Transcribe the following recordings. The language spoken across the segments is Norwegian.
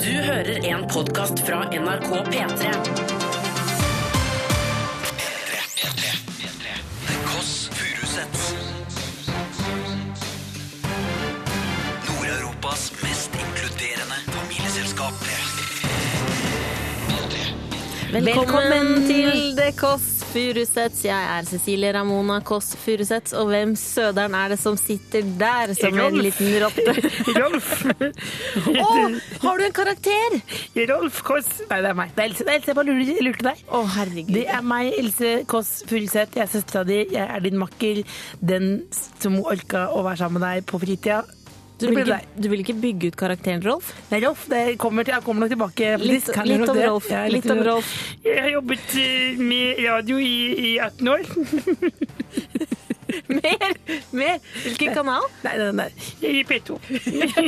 Du hører en podkast fra NRK P3. The Koss Furusets Nord-Europas mest inkluderende familieselskap Velkommen til The Kåss Furuseths. Jeg er Cecilie Ramona Kåss Furuseths, og hvem søderen er det som sitter der som en Rolf. liten rotte? Rolf! Å, har du en karakter? Rolf Kåss Nei, det er meg. Det er Else, det er Else jeg bare lurer- lurte deg. Å, herregud. Det er meg, Else Kåss Furuseth. Jeg er søstera di. Jeg er din makker. Den som orka å være sammen med deg på fritida. du, det vil ble ikke, deg. du vil ikke bygge ut karakteren, Rolf? Nei, Rolf, det kommer til, jeg kommer nok tilbake. Litt- faktisk. Kan jeg litt nok om det? Rolf, Ja, litt om Rolf. Jeg har jobbet eh, med radio i, i 18 år. Mer! Mer! Hvilken kanal? Nei, nei, nei. I P2. nei,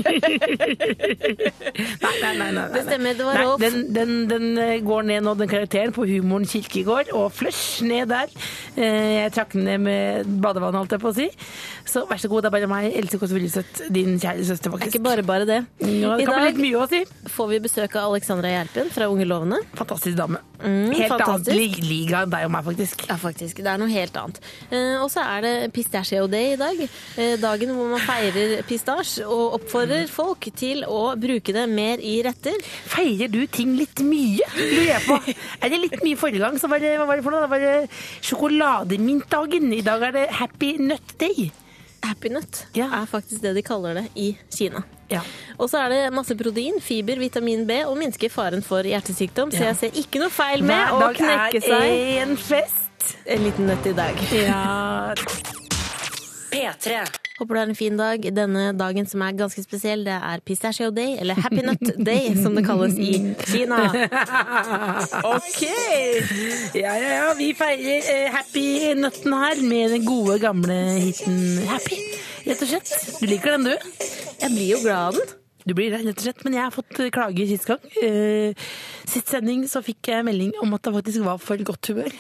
nei, nei, nei, nei. Det stemmer, det var Nei, Rolf. Den, den, den eh, går ned nå, den karakteren, på humoren Kirkegård, og flush ned der. Eh, Jeg trakk den ned med badevann, holdt jeg på å si. Så vær så god, det er bare meg, Else Kåss Willesøtt, din kjære søster, Det er faktisk. ikke bare bare det. Ja, I det kan bli dag litt mye å si. får vi besøk av Alexandra Gjerpen fra Unge lovende. Fantastisk dame. Helt Mm, fantastisk. annet li- liga enn deg og meg, faktisk. Ja, faktisk. Det er noe helt annet. Eh, og så er det Pistachio Day i dag. Eh, dagen hvor man feirer pistasje og oppfordrer folk til å bruke det mer i retter. Feirer du ting litt mye? Lurer jeg på. Er det litt mye forrige gang, så var det, hva var det for noe? Da var det sjokolademintdagen. I dag er det happy nut day. Happy nut Ja. er faktisk det de kaller det i Kina. Ja. Og så er det masse protein, fiber, vitamin B og minsker faren for hjertesykdom. Så Ja. jeg ser ikke noe feil med Hver å dag knekke seg er en fest. en liten nøtt i dag. Ja. P3. Håper du har en fin dag. Denne dagen som er ganske spesiell, det er Pistachio Day, eller Happy Nut Day, som det kalles i Kina. OK. Ja, ja, ja. Vi feirer eh, Happy Nøtten her med den gode, gamle hiten Happy. Rett og slett. Du liker den, du? Jeg blir jo glad av den. Du blir det, rett og slett. Men jeg har fått eh, klager sist gang. Eh, sist sending så fikk jeg melding om at det faktisk var for godt humør.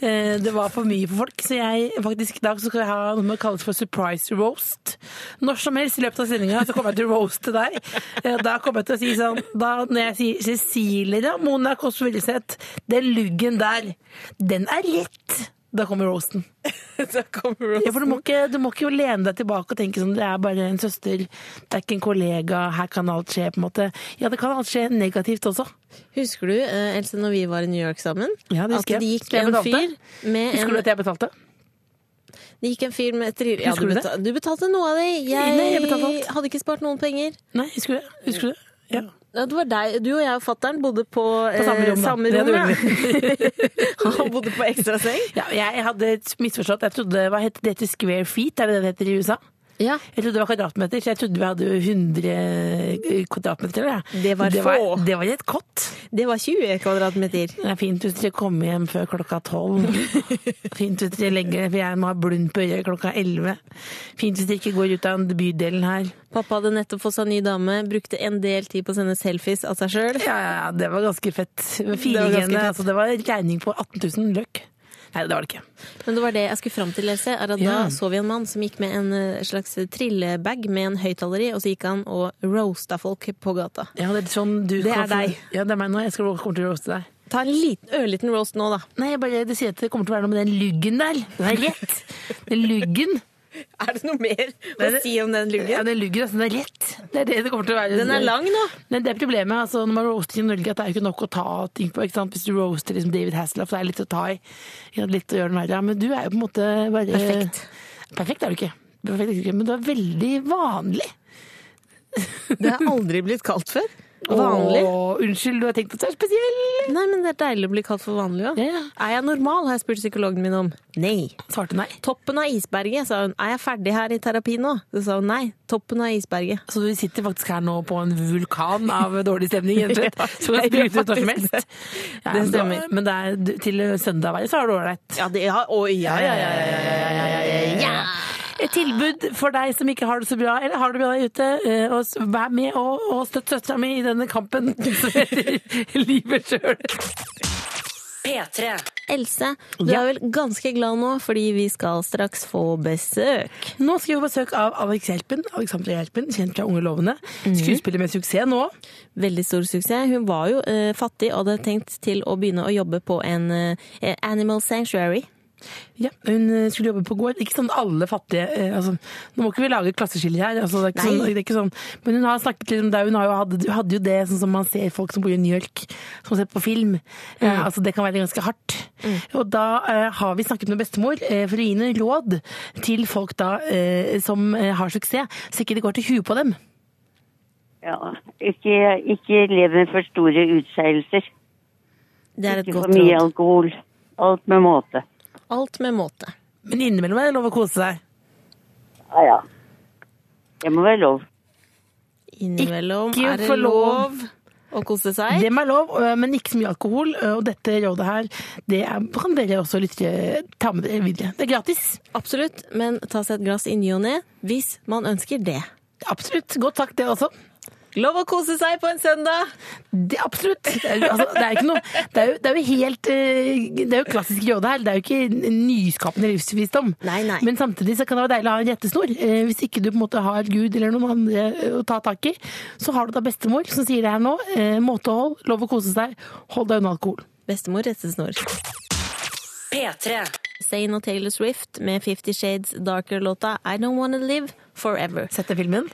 Eh, Det var for mye for folk, så jeg faktisk i dag så skal jeg ha noe som kalles for surprise roast. Når som helst i løpet av sendinga så kommer jeg til å roaste deg. Eh, Da kommer jeg til å si sånn da, Når jeg sier Cecilie Ramona Kåss Furuseth, den luggen der, den er rett. Da kommer roasten. Ja, for du må, ikke, du må ikke jo lene deg tilbake og tenke sånn det er bare en søster, det er ikke en kollega, her kan alt skje, på en måte. Ja, det kan alt skje negativt også. Husker du, eh, Else, når vi var i New York sammen? Ja, det at husker jeg. det gikk Jeg en fyr betalte. med Husker du en, at jeg betalte? det gikk en fyr med et driv... Ja, Husker du, du det? beta du betalte noe av det. Jeg, Nei, jeg betalte alt. hadde ikke spart noen penger. Nei, husker du det? Husker du det? Ja. Ja, Det var deg. Du og jeg og fattern bodde på, eh, samme rom, da. samme Det rom, gjorde ja. Han bodde på ekstraseng. Ja, jeg hadde misforstått. Jeg trodde, Hva heter det heter square feet? Er det det det heter i USA? Ja. Jeg trodde det var kvadratmeter, så jeg trodde vi hadde 100 kvadratmeter. Ja. Det var det var, få. det var et kott. Det var 20 kvadratmeter. Det er fint hvis dere kommer hjem før klokka tolv. Fint hvis dere legger for jeg må ha blund på øyet klokka elleve. Fint hvis dere ikke går ut av bydelen her. Pappa hadde nettopp fått seg ny dame, brukte en del tid på å sende selfies av seg sjøl. Ja, ja, ja, det var ganske fett. ganske Finingene, fett. altså det var en regning på 18 000 løk. Nei, det var det ikke. Men det var det jeg skulle fram til, Else. Er at Da Ja. så vi en mann som gikk med en eh, slags trillebag med en høyttaler i, og så gikk han og roasta folk på gata. Ja, det er sånn du Det kan er få- deg. Ja, det er meg nå. Jeg skal kommer til å roaste deg. Ta en liten, ørliten roast nå, da. Nei, jeg bare, det sier at det kommer til å være noe med den luggen der. Den er rett. Den luggen. Er det noe mer Nei, det- om den Ja, den luggen, altså, den er rett. Det er det det kommer til å være. Den er lang nå. Men det er problemet altså, når man roaster i Norge, at det er jo ikke nok å ta ting på. ikke sant? Hvis du roaster liksom, David Hasselhoff, det er litt å ta i. Ja, Litt å gjøre den verre. Ja, Men du er jo på en måte bare Perfekt. Perfekt er du ikke. Perfekt er du ikke, Men du er veldig vanlig. Det har aldri blitt kalt før. Vanlig. Åh, unnskyld, du har tenkt at du er spesiell. Nei, men det er deilig å bli kalt for vanlig òg. Ja, ja. Er jeg normal, har jeg spurt psykologen min om. Nei. Svarte nei. Toppen av isberget, sa hun. Er jeg ferdig her i terapi nå? Så sa hun nei. Toppen av isberget. Så vi sitter faktisk her nå på en vulkan av dårlig stemning, rett og slett. Ja, Så vi jeg gjør kan sprute ut når som faktisk det. helst. Ja, Det men da- stemmer. Men det er, du- til søndag været så er det ålreit. Ja, det, ja, å, ja, ja, ja, ja, ja, ja, ja, ja, ja, ja. Et tilbud for deg som ikke har det så bra, eller har det bra der ute, eh, og s- vær med og, og støtt søstera mi i denne kampen som heter livet sjøl. P3. Else, du Ja. er vel ganske glad nå, fordi vi skal straks få besøk. Nå skal vi få besøk av Alex Hjelpen, Alexandra Hjelpen, kjent fra Unge lovende. Skuespiller med suksess nå. Veldig stor suksess. Hun var jo eh, fattig og hadde tenkt til å begynne å jobbe på en eh, animal sanctuary. Ja, hun eh, skulle jobbe på gård. Ikke sånn alle fattige eh, altså, Nå må ikke vi lage klasseskiller her, altså, det, er ikke Nei. sånn, det er ikke sånn. Men hun har snakket litt om det. Hun har jo, hadde, hadde jo det sånn som man ser folk som bor i New York, som ser på film. Eh, Mm. altså, det kan være ganske hardt. Og da eh, har vi snakket med bestemor eh, for å gi henne råd til folk da eh, som eh, har suksess, så ikke det går til huet på dem. Ja, ikke, ikke lev med for store utskeielser. Det er et Ikke for godt mye råd. alkohol. Alt med måte. Alt med måte. Men innimellom er det lov å kose seg. Ja, ja. Det må være lov. Innimellom Ikke er det for lov. lov å kose seg. Det må være lov, øh, men ikke så mye alkohol. øh, Og dette rådet her, det er, kan dere også lytte, ta med dere videre. Det er gratis. Absolutt, men ta seg et glass i ny og ne hvis man ønsker det. Absolutt. Godt sagt, det også. Lov å kose seg på en søndag! Det, absolutt. Det er, jo- altså, det er, jo ikke noe, det er, jo, det er jo helt øh, Det er jo klassisk rådet her. Det er jo ikke nyskapende livsvisdom. Nei, nei. Men samtidig så kan det være deilig å ha en rettesnor. Eh, Hvis ikke du på en måte har Gud eller noen andre eh, å ta tak i, så har du da bestemor som sier det her nå. Eh, Måtehold, lov å kose seg, hold deg unna alkohol. Bestemor rettesnor. P3. Zayn og Taylor Swift med Fifty Shades Darker-låta I Don't Wanna Live Forever. Sett deg filmen.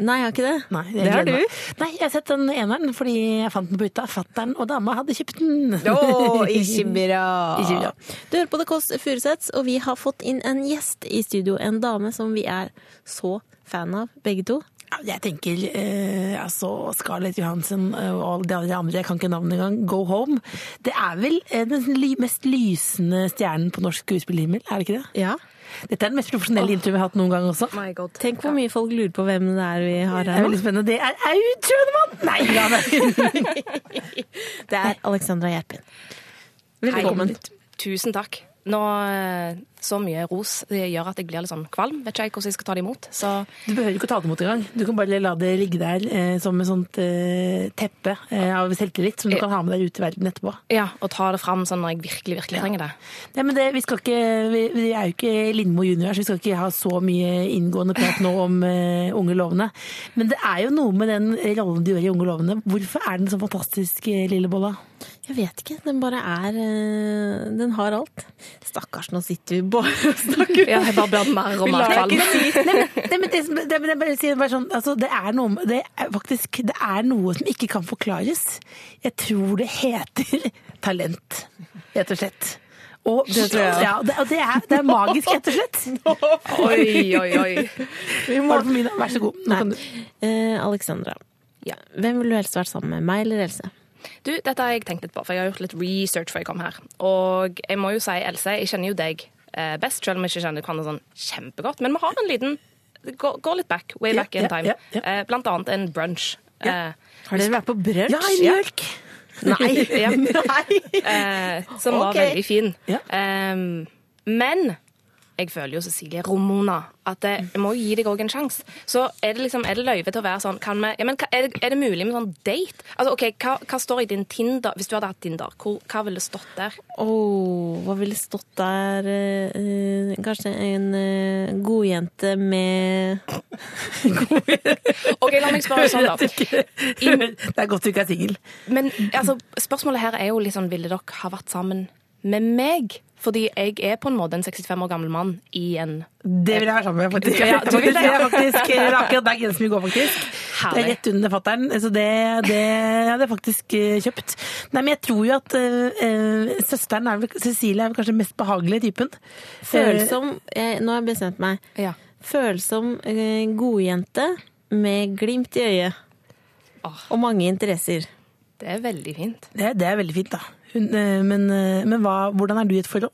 Nei, jeg har ikke det. Nei, jeg det har gleder du. meg. Nei, jeg har sett den eneren fordi jeg fant den på hytta. Fatteren og dama hadde kjøpt den. ikke bra. Ikke bra. Du hører på The Kåss Furuseths, og vi har fått inn en gjest i studio. En dame som vi er så fan av, begge to. Ja, Jeg tenker eh, altså Scarlett Johansen eh, og alle de andre andre, jeg kan ikke navnet engang, Go Home. Det er vel eh, den ly- mest lysende stjernen på norsk skuespillerhimmel, er det ikke det? Ja. Dette er den mest profesjonelle introen vi har hatt noen gang også. Tenk hvor mye folk lurer på hvem det er vi har Det er her nå. veldig spennende. Det er Aud Schønemann! Nei, la meg Det er Alexandra Gjerpen. Velkommen. Tusen takk. Nå, eh, så mye ros det gjør at jeg blir litt sånn kvalm. Vet ikke jeg hvordan jeg skal ta det imot. Så Du behøver ikke å ta det imot engang. Du kan bare la det ligge der eh, som et sånt eh, teppe eh, av selvtillit som du kan ha med deg ut i verden etterpå. ja, å ta det fram sånn når jeg virkelig, virkelig trenger det. Nei, men det, vi, skal ikke, vi, vi er jo ikke Lindmo junior, så vi skal ikke ha så mye inngående prat nå om eh, Unge lovende. Men det er jo noe med den eh, rollen du gjør i Unge lovende. Hvorfor er den så fantastisk, eh, lille bolla? Jeg vet ikke. Den bare er eh, Den har alt. Stakkars, nå sitter vi bare og snakker. Ja, jeg bare blir mer og mer Nei, kvalm. men- nei, men det som- det- men jeg bare sier bare sånn, altså, det er noe med- det er faktisk det er noe som ikke kan forklares. Jeg tror det heter talent, rett og slett. Og, det, tror jeg også. ja, det, og det, er, det er magisk, rett og slett. Oi, oi, oi. Har du på min, vær så god. Nå kan du. Eh, Alexandra, Ja. hvem ville du helst vært sammen med? Meg eller Else? Du, dette har jeg tenkt litt på, for jeg har gjort litt research før jeg kom her. Og jeg må jo si, Else, jeg kjenner jo deg eh, best, selv om jeg ikke kjenner hverandre sånn kjempegodt. Men vi har en liten Gå, gå litt back, way Ja, back in ja, time. ja, ja. Eh, Blant annet en brunch. Eh, Har dere vært på brunch? Ja, i New York. Nei. Ja. Nei. eh, som var Ok. veldig fin. Ja. Ehm, men jeg føler jo Cecilie Romona at jeg jeg må jo gi deg òg en sjanse. Så er det liksom, er det løyve til å være sånn kan vi, ja, men, hva- er, det, er det mulig med sånn date? Altså, ok, hva, hva står i din Tinder, Hvis du hadde hatt Tinder, hvor, hva ville stått der? Oh, hva ville stått der eh, eh, Kanskje en eh, godjente med Ok, La meg spørre sånn, da. Det er godt du ikke er singel. Men altså, spørsmålet her er jo litt sånn, ville dere ha vært sammen med meg? Fordi jeg er på en måte en 65 år gammel mann i en Det vil jeg være sammen med, faktisk. Ja, du vil det, det ja. er faktisk det er akkurat der grensen vi går, faktisk. Det er Herlig. rett under fatteren, så det, det hadde jeg faktisk eh, kjøpt. Nei, men jeg tror jo at eh, eh, søsteren er vel, Cecilie er vel kanskje den mest behagelige typen. følsom eh, Nå har jeg bestemt meg. Ja. Følsom eh, godjente med glimt i øyet. Åh. Og mange interesser. Det er veldig fint. Eh, Det, det er veldig fint, da. Hun, eh, men eh, men hva, hvordan er du i et forhold?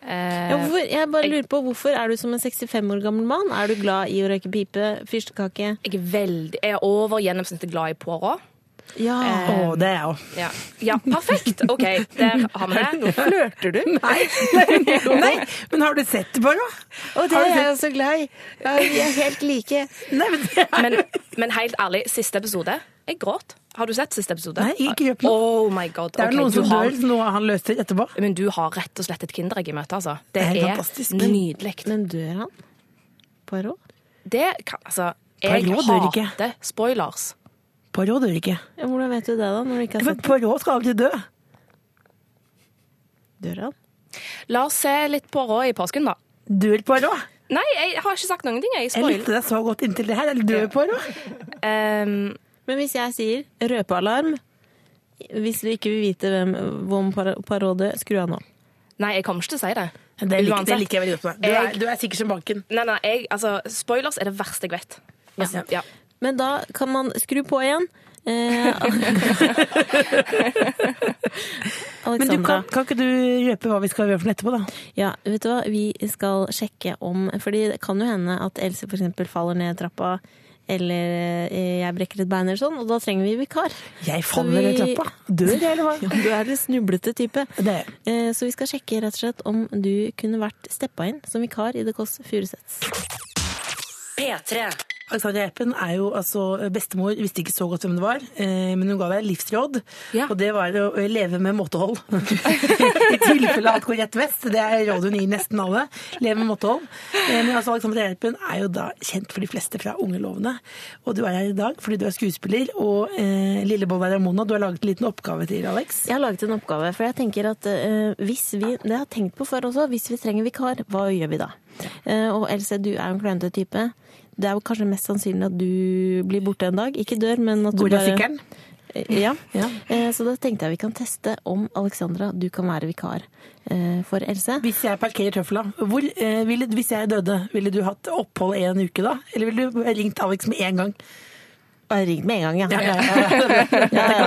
Eh, Ja, hvorfor, jeg bare lurer på, Hvorfor er du som en 65 år gammel mann? Er du glad i å røyke pipe, fyrstekake? Jeg er, veldig, jeg er over gjennomsnittet glad i Poirot. Ja. Å, det er jeg òg. Ja. ja, perfekt! OK, der har vi det. Flørter du? Nei, nei, nei, men har du sett det, Barbara? Å, det Har du er jeg så glad i. Ja, vi er helt like. Nei, men det er Men, men helt ærlig, siste episode Jeg gråt. Har du sett siste episode? Nei, jeg grep nå. Oh my god. Det er ok, noen du som har, dør, noe han løser etterpå. Men du har rett og slett et kinderegg i møte, altså. Det, er helt er, fantastisk. nydelig. Men dør han? Poirot? Det kan Altså, jeg Poirot dør ikke. hater spoilers. Poirot dør ikke. Ja, hvordan vet du det, da? Når du ikke har Men sett Poirot skal aldri dø. dør han? La oss se litt på Rå i påsken, da. Dør Poirot? Nei, jeg har ikke sagt noen ting. Jeg Jeg spoiler. likte deg så godt inntil det her. Eller dør Poirot? Ehm, Men hvis jeg sier røpealarm Hvis du ikke vil vite hvem, hvem Poirot dør, skru av nå. nei, jeg kommer ikke til å si det. Det liker, Uansett. det liker jeg veldig godt med. Du er, Jeg- du er sikker som banken. Nei, nei, jeg, altså, spoilers er det verste jeg vet. Altså, ja. Men da kan man skru på igjen. Eh, Men du Alexandra, kan, kan ikke du røpe hva vi skal gjøre for noe etterpå, da? ja, vet du hva? vi skal sjekke om Fordi det kan jo hende at Else for eksempel faller ned trappa, eller eh, jeg brekker et bein eller sånn, og da trenger vi vikar. Jeg Så faller ned vi- trappa. Dør jeg, eller hva? Ja, du er litt snublete type. Det er jeg. Eh, Så vi skal sjekke rett og slett om du kunne vært steppa inn som vikar i The Kåss Furuseths. P3. Alexandra Jeppen er jo altså bestemor, visste ikke så godt hvem det var, eh, men hun ga meg livsråd. Ja. Og det var å å leve med måtehold. I tilfelle alt går rett vest. Det er råd hun gir nesten alle. Leve med måtehold. Eh, men altså Alexandra Jeppen er jo da kjent for de fleste fra Ungelovene. Og du er her i dag fordi du er skuespiller, og eh, Lille Bolla Ramona, du har laget en liten oppgave til Alex. Jeg har laget en oppgave, for jeg tenker at eh, hvis vi, det har jeg tenkt på før også, hvis vi trenger vikar, hva gjør vi da? Eh, og Else, du er jo en klønete type. Det er jo kanskje mest sannsynlig at du blir borte en dag. Ikke dør, men at du Hvor er bare- sykkelen? Ja. Eh, så da tenkte jeg vi kan teste om Alexandra, du kan være vikar eh, for Else. Hvis jeg parkerer tøfla, hvor, eh, ville, hvis jeg døde, ville du hatt opphold i en uke da? Eller ville du ringt Alex med en gang? Bare ring med en gang, ja. Ja, ja, Ja, ja.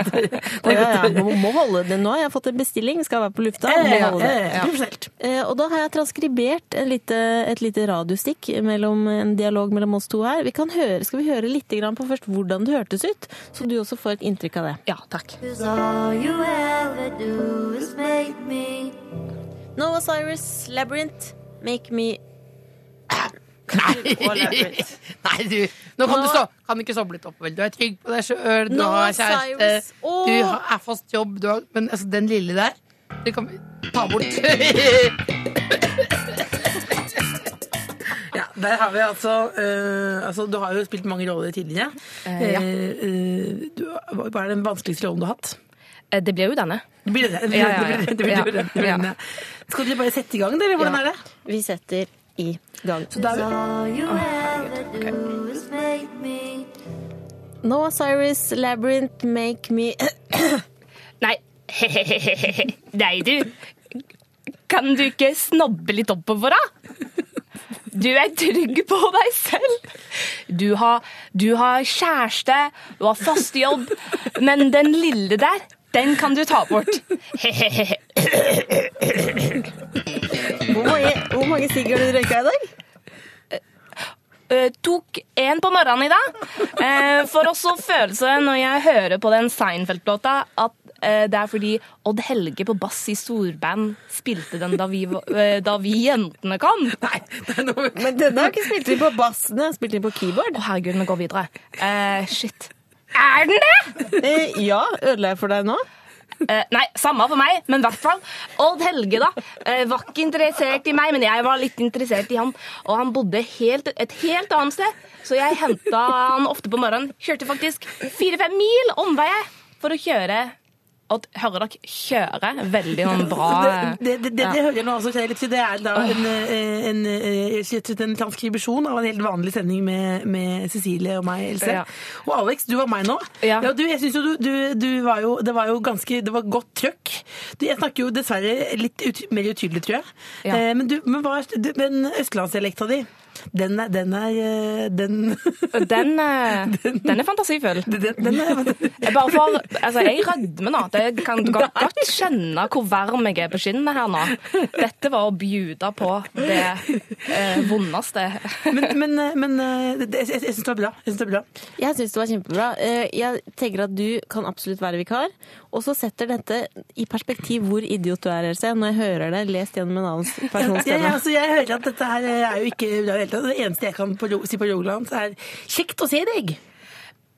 Å, ja, ja. Må, må holde det nå. Jeg har fått en bestilling, skal være på lufta. Ja, Må ja, holde det. ja, ja, ja. Profesjonelt. Eh, Og da har jeg transkribert en lite, et lite radiostikk mellom en dialog mellom oss to her. Vi kan høre, skal vi høre litt grann på først hvordan det hørtes ut, så du også får et inntrykk av det. ja, takk. Noah Cyrus, Labyrinth, Make Me Nei, du. Nå kan Nå- du stå. Kan du ikke stoppe litt opp, vel? Du er trygg på deg sjøl, du Nå, har kjæreste, Cyrus. Åh. du har, er fast jobb, du har Men altså, den lille der, det kan vi ta bort. Nei, Ja, der har vi altså, eh, altså Du har jo spilt mange roller tidligere. ja. Eh, eh, du, hva hva er den vanskeligste rollen du har hatt? Eh, Det blir jo denne. Det blir det. det, blir, Ja, ja, ja. det, blir, det, blir, det, blir, det, blir, Ja. det blir- Skal dere bare sette i gang, dere? Hvordan Ja. er det? Vi setter i gang. Så da, Noah Cyrus, Labyrinth, Make Me Nei, nei du. Kan du ikke snobbe litt oppover, da? Du er trygg på deg selv. Du har, du har kjæreste, du har fast jobb, men den lille der, den kan du ta bort. Hvor mange, hvor mange sigg har du røyka i dag? Eh, tok en på morgenen i dag. Eh, for også følelse når jeg hører på den Seinfeld-låta, at eh, det er fordi Odd Helge på bass i storband spilte den da vi, var- eh, da vi jentene kom. Å, Men denne har ikke spilt inn på bass, den har spilt inn på keyboard. herregud, vi går videre. Eh, shit. Er den det?! Eh, ja, ødela jeg for deg nå? Eh, nei, samme for meg, men i hvert fall. Odd Helge, da. eh, var ikke interessert i meg, men jeg var litt interessert i han. Og han bodde helt, et helt annet sted, så jeg henta han ofte på morgenen. Kjørte faktisk fire-fem mil omveie for å kjøre. Odd, hører dere kjøre? Veldig sånn bra det, det, det, det hører jeg nå også, kjenner jeg litt til. Det er da Ah. en, eh, en, eh, slett ut en transkribisjon av en helt vanlig sending med, med Cecilie og meg, Else. Ja. Og Alex, du var meg nå. Ja. du, jeg synes jo du, du, du var jo Det var jo ganske Det var godt trøkk. Du, jeg snakker jo dessverre litt ut, mer utydelig, tror jeg. Ja. Eh, men, du, men hva er- du, men østlandsdialekta di, Den er Den er, eh, den, Den, eh, den er fantasifull. den, den er Jeg bare får, altså jeg rødmer nå. Det kan du kan godt kjenne hvor varm jeg er på skinnet her nå. Dette var å bjuda på det eh, vondeste. Men, men, eh, men eh, det- jeg, jeg, jeg syns det var bra. Jeg synes det var bra. Jeg syns det var kjempebra. Eh, Jeg tenker at du kan absolutt være vikar. Og så setter dette i perspektiv hvor idiot du er, Else, når jeg hører det lest gjennom en annen persons Jeg, jeg, stemme. altså, jeg hører at dette her eh, er jo ikke bra i det hele tatt. Det eneste jeg kan på, ro- si på Rogaland, er 'kjekt å se deg'.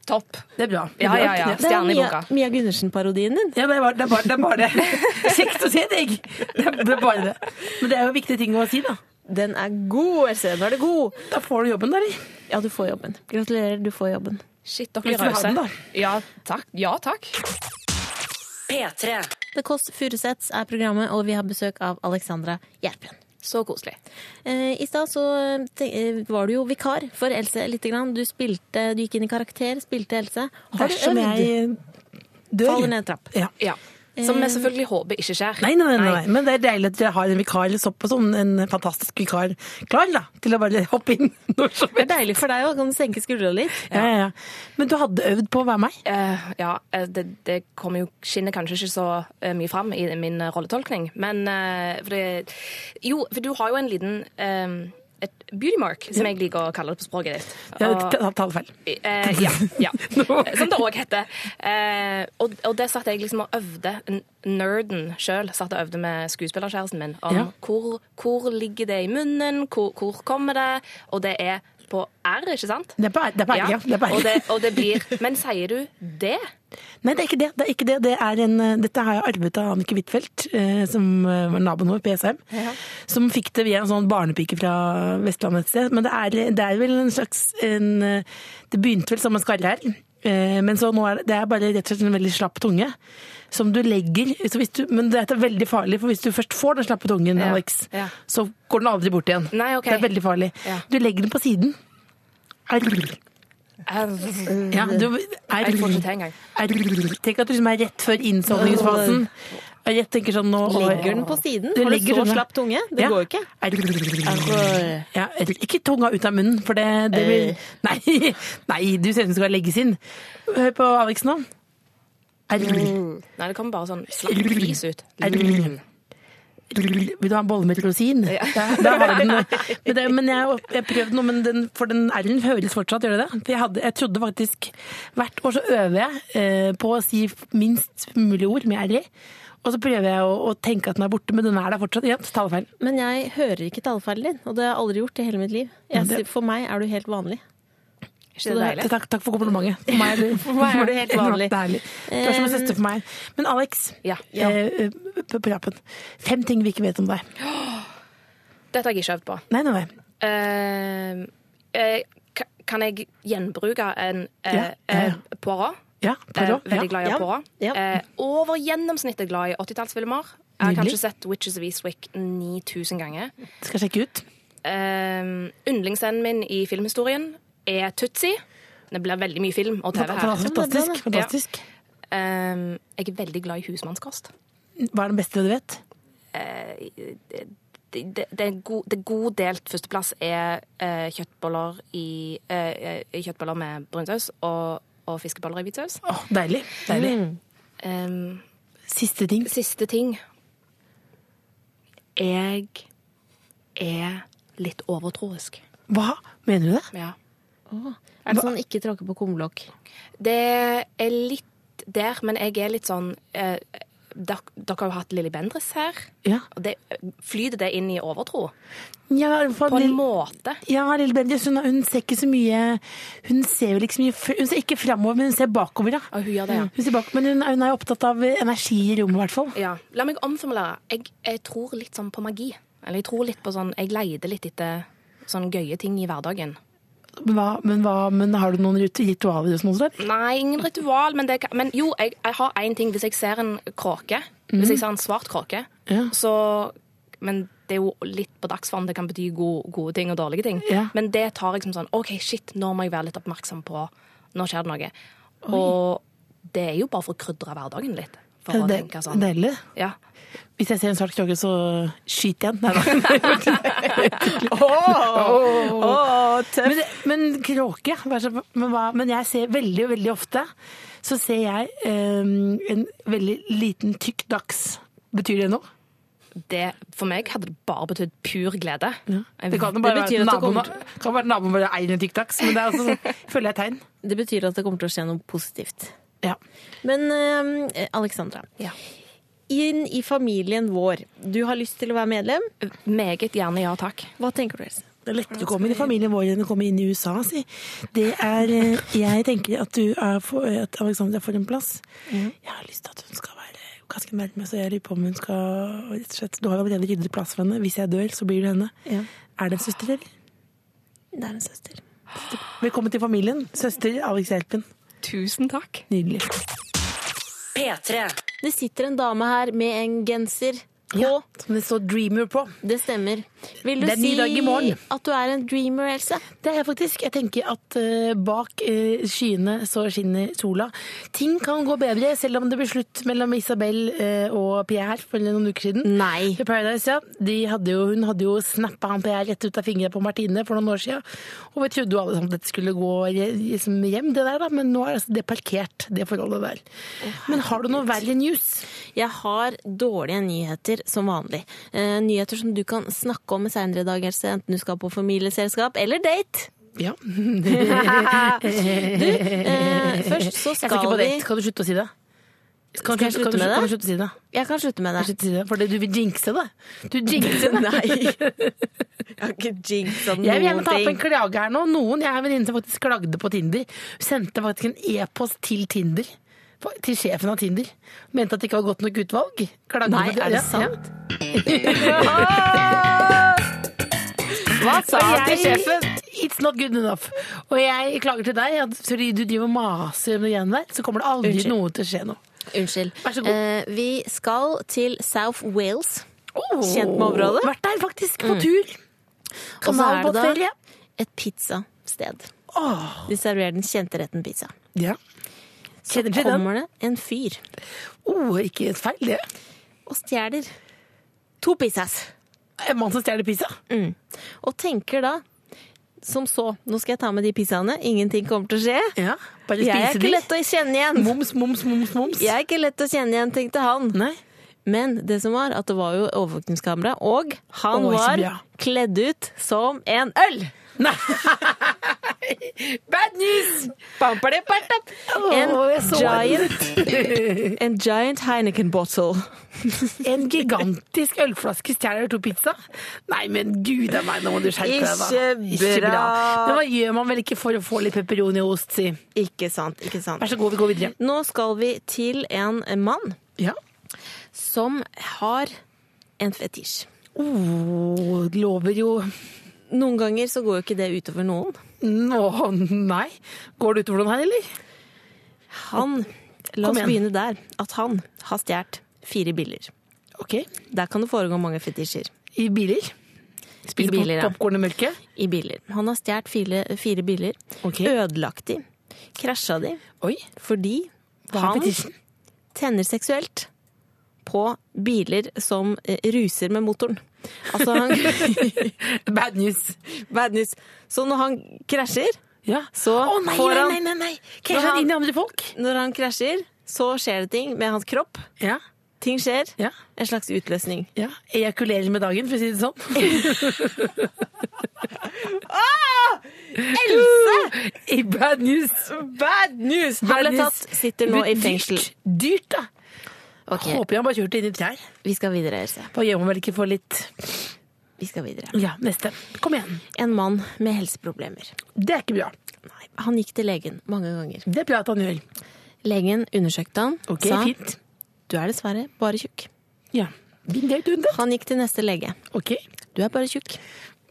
Topp. Det er bra. Det er Ja, bra. ja, ja. Det er Stjerne i Mia, boka. Mia Gundersen-parodien din. Ja, men det, er bare, det, er bare, det er bare det. Kjekt å se deg! Det er, det er bare det. Men det er jo viktige ting å si, da. Den er god, Else. Nå er det god. Da får du jobben, da. eller? Ja, du får jobben. Gratulerer, du får jobben. Shit, dere Hvis blir du vil ha rause. den, da. Ja takk. Ja takk. P3. The Kåss Furuseths er programmet, og vi har besøk av Alexandra Gjerpen. Så koselig. Eh, I stad så eh, te- eh, var du jo vikar for Else lite grann. Du spilte, du gikk inn i karakter, spilte Else. Har du Dersom øvd? jeg dør. Faller ned en trapp. Ja. Ja. Som vi selvfølgelig håper ikke skjer. Eh. Nei, nei, nei, nei, nei, men det er deilig at dere har en vikar eller såpass, sånn, en fantastisk vikar klar da, til å bare hoppe inn når som Det er helst. deilig for deg å kan senke skuldra litt. Ja, ja, ja. Men du hadde øvd på å være meg. Eh, ja, eh, det, det kommer jo skinner kanskje ikke så eh, mye fram i min eh, rolletolkning, men eh, for det, Jo, for du har jo en liten eh, et beauty mark, som jeg liker å kalle det på språket ditt. Jeg Og- tar talefeil. Eh, ja. ja. Som det òg heter. Eh, og, og det satt jeg liksom og øvde. N- Nerden sjøl satt og øvde med skuespillerkjæresten min om Ja. hvor, hvor ligger det i munnen, hvor, hvor kommer det, og det er på R, ikke sant? Det er på- det er på R, ja. Det er på R. Og, det, og det blir Men sier du det? Nei, det er ikke det. det, er ikke det. det er en, eh, dette har jeg arvet av Annike Huitfeldt, eh, som eh, var naboen vår på Jessheim. Som fikk det via en sånn barnepike fra Vestlandet et sted. Men det er, det er vel en slags en, eh, Det begynte vel som en skarre her. eh, Men så nå er det, det er bare rett og slett en veldig slapp tunge. Som du legger så hvis du, Men dette er veldig farlig, for hvis du først får den slappe tungen, Ja, Alex, ja. så går den aldri bort igjen. Nei, ok. Det er veldig farlig. Ja. Du legger den på siden. Arr. Jeg Ja, du, arr. får ikke til engang. Er- Tenk at du liksom er rett før innsovningsfasen. Og Jeg tenker sånn nå Legger den på siden? Du Har du legger så den der. slapp tunge? Det Ja. går jo ikke. Er- Ja, er- ikke tunga ut av munnen, for det, det vil Altså, Eh. Nei, nei du ser ut som du skal legges inn. Hør på Alex nå. Er- Nei, det kommer bare sånn slapp fis ut. er- Vil du ha en bolle med rosin? Ja. da har du den. Men, det, men jeg, har- jeg prøvde noe, men den, for den R-en høres fortsatt, gjør det det? For jeg, hadde, jeg trodde faktisk Hvert år så øver jeg eh, på å si minst mulig ord med R i. Og så prøver jeg å, å tenke at den er borte, men den er der fortsatt. Ja, talefeil. Men jeg hører ikke talefeilen din, og det har jeg aldri gjort i hele mitt liv. Jeg, det- sier- for meg er du helt vanlig. Ikke det deilig? Takk, takk for komplimentet. For meg er det, for meg er det helt vanlig. Deilig. Du er som en søster for meg. Men Alex, Ja. eh, på rapen. Fem ting vi ikke vet om deg. Dette har jeg ikke øvd på. Nei, nei, nei. Eh, eh, ka- kan jeg gjenbruke en eh, Ja, ja, ja. eh, Poirot? Ja, Poirot, Eh, veldig ja. glad i Ja, Poirot. ja. Eh, over gjennomsnittet glad i 80-tallsfilmer. Jeg har Nydelig. kanskje sett Witches of Eastwick 9000 ganger. Skal jeg sjekke ut. Eh, Yndlingsscenen min i filmhistorien er Tutsi. Det blir veldig mye film og TV her. Fantastisk. Ja. fantastisk. Eh, jeg er veldig glad i husmannskost. Hva er den beste du vet? Eh, Det, det, det, er god, det god delt førsteplass er eh, kjøttboller, i, eh, eh, kjøttboller med brunsaus og, og fiskeboller i hvitsaus. Åh, deilig. deilig. Um, Mm. Siste ting. siste ting Jeg er litt overtroisk. Hva? Mener du det? Ja. Er det sånn ikke tråkke på kumlokk? Det er litt der, men jeg er litt sånn eh, dere, dere har jo hatt Lilly Bendriss her. Ja. Og Det, flyter det inn i overtro? Ja, På en måte. Ja, Lille Bendriss, hun, hun ser ikke så mye Hun ser jo liksom mye Hun ser ikke framover, men hun ser bakover, da. Ja, hun gjør det, ja. Hun ser bak, men hun, er- hun er jo opptatt av energi i rommet, i hvert fall. Ja. La meg omformulere. Jeg, jeg tror litt sånn på magi. Eller jeg tror litt på sånn Jeg leide litt etter sånn gøye ting i hverdagen. Men, hva, men, hva, men har du noen rit- ritualer og sånn? Sånn? Nei, ingen ritual, men, det, kan- men jo, jeg, jeg har én ting. Hvis jeg ser en kråke, hvis jeg ser en svart kråke, Mm. Ja. så Men det er jo litt på dagsform. Det kan bety gode, gode ting og dårlige ting. Ja. Men det tar jeg som sånn OK, shit, nå må jeg være litt oppmerksom på Nå skjer det noe. Og det er jo bare for å krydre hverdagen litt. for å Det- tenke sånn. Deilig. Ja. Hvis jeg ser en svart kråke, så skyter jeg den. Nei da. Men, men kråke, ja. Vær så- men, hva- men jeg ser veldig, veldig ofte så ser jeg em, en veldig liten, tykk dachs. Betyr det noe? Det, for meg hadde det bare betydd pur glede. Jeg- Det kan jo bare betyr være at det naboen, kommer kan være naboen bare eier en tykk dachs, men det er altså, føler jeg tegn. Det betyr at det kommer til å skje noe positivt. Ja. Men eh, Alexandra, Ja. inn i familien vår. Du har lyst til å være medlem. Meget gjerne ja takk. Hva tenker du, Else? Det er lettere å komme inn i familien vår enn å komme inn i USA, si. Det er eh, Jeg tenker at du er for, at Alexandra får en plass. Jeg har lyst til at hun skal være ganske nærme, så jeg lurer på om hun skal rett og slett, Du har allerede ryddet plass for henne. Hvis jeg dør, så blir du henne. Ja. Er det en søster, eller? Det er en søster. Velkommen til familien. Søster Alex Hjelpen. Tusen takk. Nydelig. P3. Det sitter en dame her med en genser på. Som det står 'Dreamer' på. Det stemmer. Vil du Det er ny si dag i morgen. at du er en dreamer, Else? Det er jeg faktisk. Jeg tenker at eh, bak eh, skyene så skinner sola. Ting kan gå bedre, selv om det ble slutt mellom Isabel eh, og Pierre for noen uker siden. Nei. I Paradise, ja. De hadde jo, hun hadde jo snappa han Pierre rett ut av fingrene på Martine for noen år siden. Og vi trodde jo alle sammen at dette skulle gå re- liksom hjem, det der, da. Men nå er altså det parkert, det forholdet der. Men har du noe verre news? Jeg har dårlige nyheter som vanlig. Eh, nyheter som du kan snakke om senere i dag, Else. Enten du skal på familieselskap eller date. Ja. Eh, først så Jeg skal skal ikke på vi date. Kan du slutte å si det? Skal Kan, jeg du- kan slutte du- med det? Kan du slutte å si det? Jeg kan slutte med det. Jeg slutter å si det, Fordi du vil jinxe det. Du jinxer det. Nei. Jeg har ikke jinxa Jeg vil gjerne noen ta opp en ting. klage her nå. Noen, Jeg har en venninne som faktisk klagde på Tinder. Hun sendte faktisk en e-post til Tinder. på- Til sjefen av Tinder. Mente at det ikke var godt nok utvalg. Klagde Nei, på det. er det Ja, sant? Hva sa Ja. han til Og sjefen? jeg, it's not good enough. Og jeg klager til deg at fordi du driver og maser om det greiene der, så kommer det aldri Unnskyld. noe til å skje nå. Unnskyld. Vær så god. Eh, vi skal til South Wales. Kjent med området? Vært der faktisk, på tur. Og så er det da Kanalbåtferie. et pizzasted. De serverer den kjente retten pizza. Ja. Kjenner til den? Kommer det en fyr Oh, ikke et feil, det. og stjeler to pizzas. En mann som stjeler pizza. Og tenker da som så, nå skal jeg ta med de pizzaene, ingenting kommer til å skje. Ja, bare Jeg er spiser ikke de. lett å kjenne igjen. Moms, moms, moms, moms. Jeg er ikke lett å kjenne igjen, tenkte han. Nei. Men det som var, at det var jo overvåkningskamera, og han Oi, så var bra. kledd ut som en øl! Bad news! En Åh, jeg så giant, en giant Heineken bottle. En gigantisk ølflaske stjeler to pizza? Nei, men gud a meg, nå må du skjerpe deg, da. Ikke bra. Men hva gjør man vel ikke for å få litt pepperoni og ost, si? Ikke sant, ikke sant. Vær så god, vi går videre. Nå skal vi til en mann Ja. som har en fetisj. Oh, det lover jo Noen ganger så går jo ikke det utover noen. Nå, nei. Går det utover noen her, eller? Han, la Kom oss igjen. begynne der, at han har stjålet fire biler. OK. Der kan det foregå mange fetisjer. I biler. I Spiser biler, ja. popkorn og mørke. I biler. Han har stjålet fire, fire biler, Ok. ødelagt de, krasja de, Oi. fordi Hva er han fetisjen? tenner seksuelt på biler som eh, ruser med motoren. Altså han Bad news. Bad news. Så når han krasjer, Ja. så Å nei, får nei, han nei, nei, nei. Krasjer han- han inn i andre folk? Når han krasjer, så skjer det ting med hans kropp. Ja. Ting skjer. Ja. En slags utløsning. Ja, Ejakulerer med dagen, for å si det sånn. Ah! Else! I bad news. Bad news! Han ble tatt, sitter nå i fengsel. Dyrt, dyrt da. Ok, Håper jeg han bare kjørte inn i trær. Vi skal videre, Else. Hva gjør man vel ikke for litt Vi skal videre. Ja, neste. Kom igjen. En mann med helseproblemer. Det er ikke bra. Nei, han gikk til legen mange ganger. Det er bra at han gjør. Legen undersøkte han, Ok, sa fint. du er dessverre bare tjukk. Ja. Bind deg ut unna. Han gikk til neste lege. Ok. Du er bare tjukk.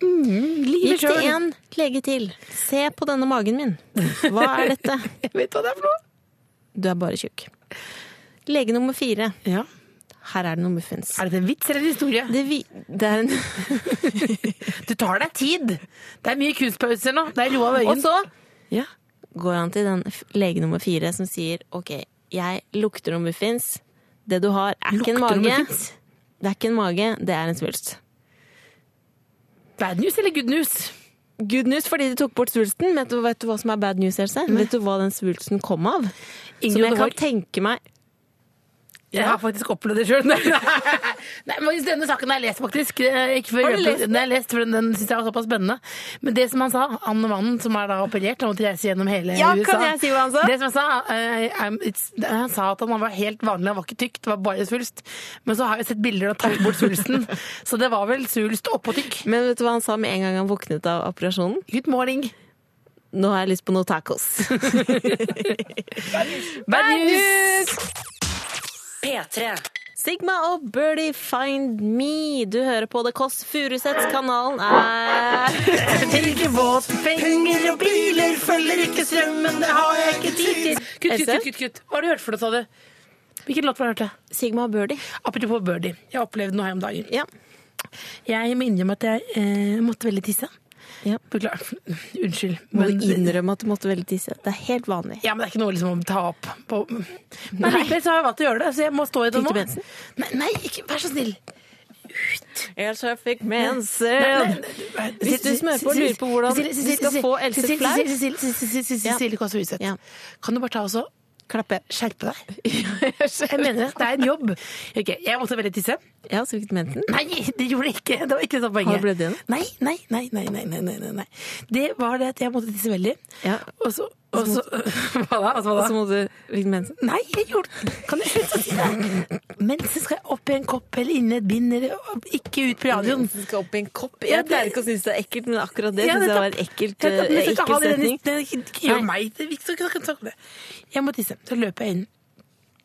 Livet Gikk til sjøl. en lege til. Se på denne magen min. Hva er dette? Jeg vet hva det er for noe. Du er bare tjukk. Lege nummer fire. Ja. Her er det noe muffins. Er dette en vits eller en historie? Det, vi, det er en Du tar deg tid. Det er mye kunstpauser nå. Det er Roald Og Øyen. så Ja. går han til den f- lege nummer fire som sier OK, jeg lukter noe muffins. Det du har, er ikke en Lukter mage. det noe fiks? Det er ikke en mage, det er en svulst. Bad news eller good news? Good news fordi de tok bort svulsten, men vet du, vet du hva som er bad news, Else? Vet du hva den svulsten kom av? Som Ingrid jeg kan Aagaard. tenke meg Jeg har faktisk opplevd det sjøl. Nei, faktisk, denne saken har jeg lest, faktisk. Eh, Ikke for, Har du lest den? har Jeg lest, for den, den syns jeg var såpass spennende. Men det som han sa, han mannen som er da operert, han måtte reise gjennom hele Ja, USA kan jeg si hva han sa? Det som han sa, eh, I'm- it's, han sa at han var helt vanlig, han var ikke tykk, det var bare svulst. Men så har jeg sett bilder og tatt bort svulsten, så det var vel svulst oppå tykk. Men vet du hva han sa med en gang han våknet av operasjonen? Good morning. Nå har jeg lyst på noe tacos. Bad news! P3. Sigma og Birdie Find Me. Du hører på The Kåss Furuseths. Kanalen er Ikke båt, penger og biler følger ikke strømmen, det har jeg ikke tid til. Kutt, kutt, Else? kutt, kutt, kutt. Hva har du hørt for noe, sa du? Hvilken låt var det du hørte? Sigma og Birdie. Apropos Birdie, jeg opplevde noe her om dagen. Ja. Jeg må innrømme at jeg eh, måtte veldig tisse. Ja. Beklager. Unnskyld. Må men- du innrømme at du måtte veldig tisse? Det er helt vanlig. ja, men det er ikke noe liksom, å ta opp på Men likevel så har jeg valgt å gjøre det, så jeg må stå i det Fikk du nå. mensen? Nei, nei, ikke, vær så snill. Ellers jeg fikk Nei, mensen. nei, nei. Hvis du smører på og lurer på hvordan Cecilie, vi skal Cecilie, få Else Cecilie, Flau. Cecilie, Cecilie, Cecilie, Ja. Cecilie Kåss Furuseth. Ja. Kan du bare ta og så Klappe. skjerpe deg? Jeg mener det. Det er en jobb. Ok, jeg måtte veldig tisse. Ja, så fikk du mensen. Nei, det gjorde jeg ikke. Det var ikke det samme poenget. Har du blødd igjen? Nei, nei, nei, nei, nei, nei, nei, nei, nei. Det var det at jeg måtte tisse veldig. Ja. Og så, og så, hva da? Og Og så, hva så da? må du fikk mensen. Nei, jeg gjorde Kan du slutte å si det? Mensen skal jeg opp i en kopp eller inni et bind eller ikke ut på radioen. Mensen skal opp i en kopp. Ja, Jeg det- pleier ikke å synes det er ekkelt, men akkurat det Ja, synes jeg var nettopp. ekkelt. Nettopp, men eh, jeg skal ikke Ekkel ha det i den- setning. den- ikke Gjør meg det er viktig, så kan jeg snakke om det. Jeg må tisse. Så løper jeg inn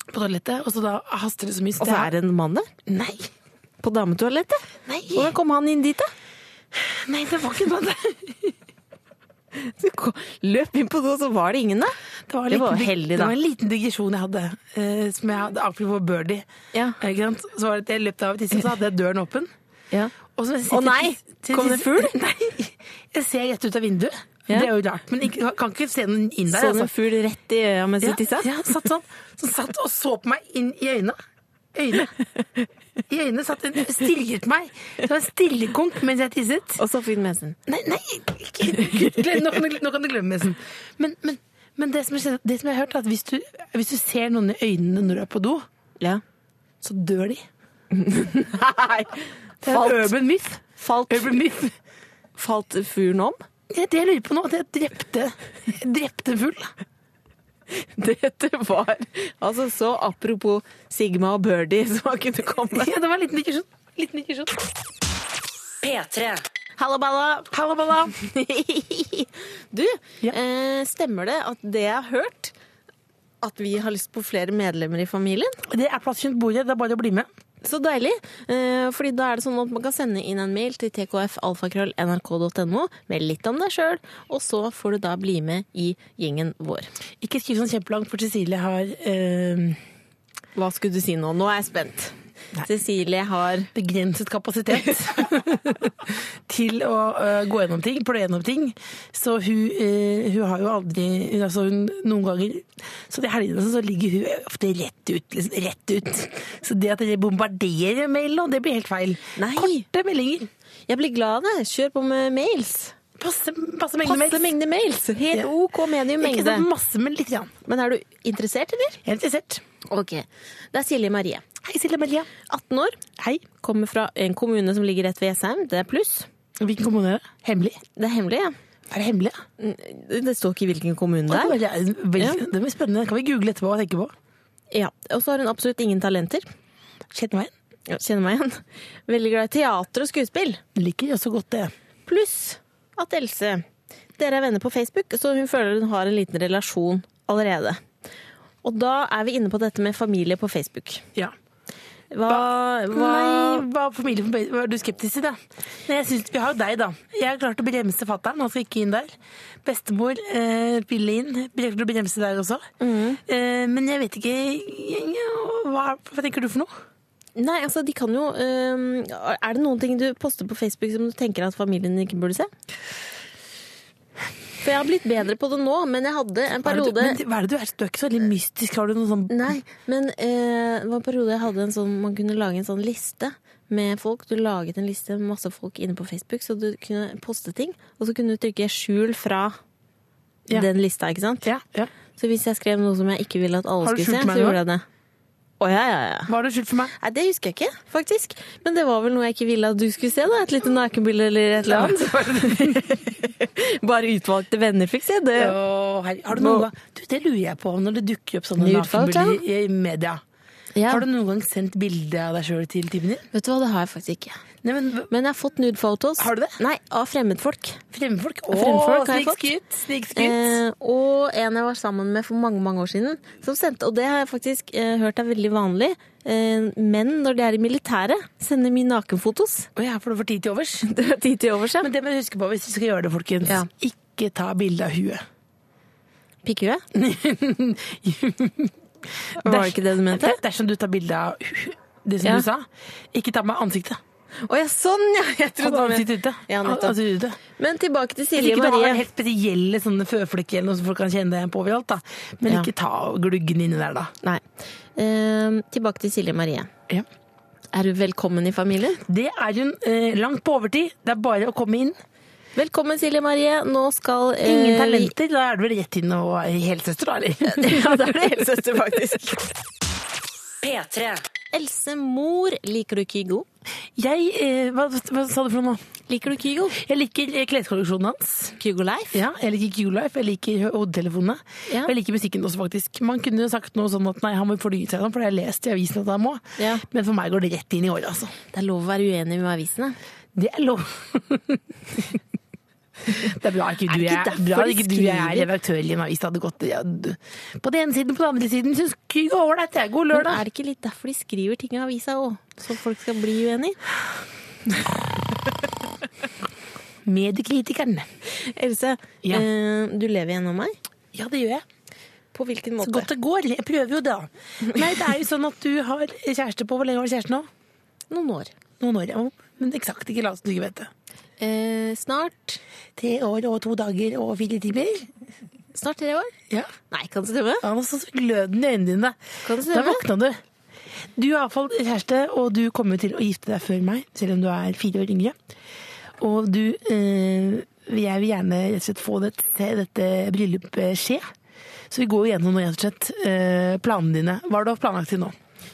på toalettet, og så da haster det så mye. så Og så er det en mann der. Nei. På dametoalettet. Nei. Hvordan kom han inn dit, da? Nei, det var ikke noe det. Du ko- løp inn på do, så var det ingen der. var, en Det liten var dig- heldig, Det da. var en liten digresjon jeg hadde, eh, som jeg hadde apropos birdie. Ja. Ikke sant? Så var det at jeg løpte av i tissen, så hadde jeg døren åpen. Ja. Og så Å nei! Kom det fugl? Nei. Jeg ser rett ut av vinduet. Ja. Det er jo rart, men ikke, kan ikke se den inn der. Så du en fugl rett i øya mens du tissa? altså. Ja, ja, satt sånn. Så satt og så på meg inn i øynene. Øyne. I øynene satt en stirret meg. Det var en stillekonk mens jeg tisset. Og så fikk du mensen. Nei, nei, ikke, ikke- glem, nå, kan du, nå kan du glemme Mesen. Men, men, men det, som jeg, kjenner- det som jeg har hørt, er at hvis du, hvis du ser noen i øynene når du er på do, Ja. så dør de. Nei! Det er en Falt, urban myth. falt, Urban myth. falt fuglen om? Det er det jeg lurer på nå, at jeg drepte, jeg drepte en fugl. Dette var altså så apropos Sigma og Birdie som han kunne komme. Ja, det var en liten digresjon. Liten digresjon. P3. Hallo, balla! Halla, balla. Du, Ja. eh, stemmer det at det jeg har hørt, at vi har lyst på flere medlemmer i familien? Det er plass rundt bordet, det er bare å bli med. Så deilig. Eh, fordi da er det sånn at man kan sende inn en mail til tkfalfakrøll.nrk.no med litt om deg sjøl, og så får du da bli med i gjengen vår. Ikke skriv sånn kjempelangt, for Cecilie har eh, Hva skulle du si nå? Nå er jeg spent. Cecilie har begrenset kapasitet til å eh, gå gjennom ting, pløye gjennom ting. Så hun, eh, hun har jo aldri hun, altså hun, Noen ganger Så de helgene så ligger hun ofte rett ut. Liksom, rett ut. Så det at dere bombarderer mail nå, det blir helt feil. Nei. Korte meldinger. Jeg blir glad av det. Kjør på med mails. Passe, passe mengde Passe mail. mengde mails. Helt Ja. OK medium Ikke mengde. sånn masse, men litt. Grann. Men er du interessert, eller? Jeg er interessert. Ok. Det er Silje Marie. Hei, Silje Maria. 18 år. Hei. Kommer fra en kommune som ligger rett ved Jessheim. Det er pluss. Hvilken kommune er det? Hemmelig? Det er hemmelig, ja. Er det hemmelig? ja? Det står ikke hvilken kommune det er. Oi, det er vel- Ja. Det blir spennende. Kan vi google etterpå og tenke på? Ja, og så har hun absolutt ingen talenter. Kjenner meg igjen. Ja, Kjenner meg igjen. Veldig glad i teater og skuespill. Liker også godt det. Pluss at Else Dere er venner på Facebook, så hun føler hun har en liten relasjon allerede. Og da er vi inne på dette med familie på Facebook. Ja. Hva, hva Nei, hva familie for Var du skeptisk til det? Nei, jeg synes, Vi har jo deg, da. Jeg har klart å bremse fatter'n. Han skal ikke inn der. Bestemor eh, ville inn. Jeg klarte å bremse der også. Mm. Eh, men jeg vet ikke ja, hva, hva tenker du for noe? Nei, altså, de kan jo øhm, Er det noen ting du poster på Facebook som du tenker at familien ikke burde se? For jeg har blitt bedre på det nå, men jeg hadde en Hva er det du- periode Men hva er det du er? Du er ikke så veldig mystisk. Har du noe sånn Nei, men eh, det var en periode jeg hadde en sånn Man kunne lage en sånn liste med folk. Du laget en liste med masse folk inne på Facebook, så du kunne poste ting. Og så kunne du trykke 'skjul fra' Ja. den lista, ikke sant? ja, ja. Så hvis jeg skrev noe som jeg ikke ville at alle Har du skulle skjult se, meg så nå? gjorde jeg det. Å ja, ja, ja. Hva har du skyldt for meg? Nei, det husker jeg ikke, faktisk. Men det var vel noe jeg ikke ville at du skulle se, da. Et lite nakenbilde eller et eller annet. Bare utvalgte venner fikk se det. Å, herre- har du noen gang Du, det lurer jeg på når det dukker opp sånne Nude photo? nakenbilder i, i media. Ja. Har du noen gang sendt bilde av deg sjøl til typen din? Vet du hva, det har jeg faktisk ikke. Nei, men Men jeg har fått nude photos. Har du det? Nei, av fremmedfolk. Fremmedfolk? Å, Fremmedfolk har jeg fått. snikskryt! Snikskryt! Eh, og en jeg var sammen med for mange mange år siden, som sendte Og det har jeg faktisk eh, hørt er veldig vanlig. Eh, menn, når de er i militæret, sender mye nakenfotos. Å ja, for du får tid til overs? Det er tid til overs, ja. Men det må du huske på hvis du skal gjøre det, folkens. Ja. Ikke ta bilde av huet. Pikkhue? Var det ikke det du mente? Dersom du tar bilde av hu- det som Ja. du sa, ikke ta med ansiktet. Å ja, sånn, ja! Jeg Ta trodde ansiktet ute. Ja, An- nettopp. ansiktet ute. Men tilbake til Hvis Silje ikke du har Marie. helt spesielle sånne føflekker eller noe som folk kan kjenne deg på overalt, da. Men Ja. ikke ta gluggen inni der, da. Nei. Eh, tilbake til Silje Marie. Ja. Er du velkommen i familien? Det er jo en, eh, langt på overtid. Det er bare å komme inn. Velkommen, Silje Marie. Nå skal eh, Ingen vi- talenter. Da er det vel rett inn og helsøster, da, eller? Ja, det er det helsøster, faktisk. P3. Else Mor, liker du Kygo? Jeg eh, hva, hva sa du for noe nå? Liker du Kygo? Jeg liker eh, kleskolleksjonen hans. Kygo Leif? Ja, jeg liker Q-Life, jeg liker hodetelefonene. Ja. Og jeg liker musikken også, faktisk. Man kunne jo sagt noe sånn at nei, han må fornye seg, nå, for det har jeg lest i avisen at han må. Ja. Men for meg går det rett inn i året, altså. Det er lov å være uenig med avisene. Det er lov. det er bra ikke du Er det ikke er, derfor bra, de ikke du jeg er skriver? redaktør i en avis. Det hadde gått ja, d- på den ene siden, på den andre siden. Syns Kygo er ålreit, det er god Men lørdag. er det ikke litt derfor de skriver ting i avisa òg? Så folk skal bli uenige? Mediekritikeren. Else, Ja. eh, du lever gjennom meg. Ja, det gjør jeg. På hvilken Så måte? godt det går. Jeg prøver jo, da. Nei, det er jo sånn at du har kjæreste på Hvor lenge har du kjæreste nå? Noen år. Noen år, ja. Men eksakt ikke la oss ikke vite. Eh, snart Tre år og to dager og fire timer. Snart tre år? Ja. Nei, kan det stemme? Han var så gløden i øynene dine. Kan det Da stemme? våkna du. Du er iallfall kjæreste, og du kommer jo til å gifte deg før meg, selv om du er fire år yngre. Og du eh, Jeg vil gjerne rett og slett få dette, se dette bryllupet skje. Så vi går jo gjennom nå, rett og slett, eh, planene dine. Hva har du planlagt til nå?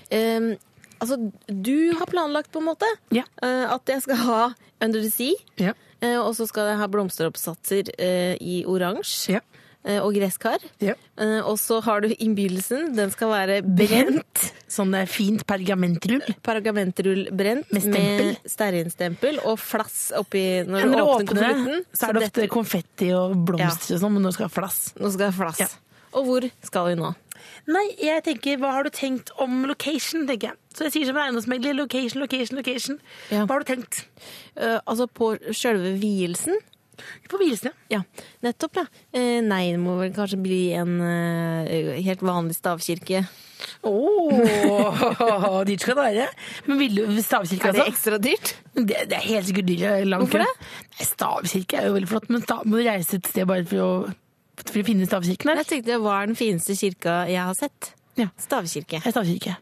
Eh, altså, du har planlagt på en måte Ja. eh, at jeg skal ha Under the Sea. Ja. Eh, og så skal jeg ha blomsteroppsatser eh, i oransje. Ja. Eh, og gresskar. Ja. Eh, og så har du innbydelsen. Den skal være brent. Sånn eh, fint pergamentrull. Pergamentrull brent Med med, stempel. stearinstempel og flass oppi når, Ja, Når du du åpner åpner det, konvolutten. så er det ofte konfetti og blomster og sånn, men nå skal jeg ha flass. Nå skal jeg ha flass. Ja. Og hvor skal vi nå? Nei, jeg tenker, hva har du tenkt om location, tenker jeg. Så jeg sier som en eiendomsmegler, location, location, location. Ja. Hva har du tenkt? Eh, altså på sjølve vielsen? På Hvilesne. Ja, nettopp, ja. Eh, nei, det må vel kanskje bli en eh, helt vanlig stavkirke. Åh, dyrt skal det være. Men vil du stavkirke, altså? ekstra dyrt? Det, det er helt sikkert dyrt. lang Hvorfor kø. det? Nei, Stavkirke er jo veldig flott, men da må du reise et sted bare for å, for å finne stavkirken, Jeg eller? tenkte hva er den fineste kirka jeg har sett? Ja. Stavkirke. Det er stavkirke.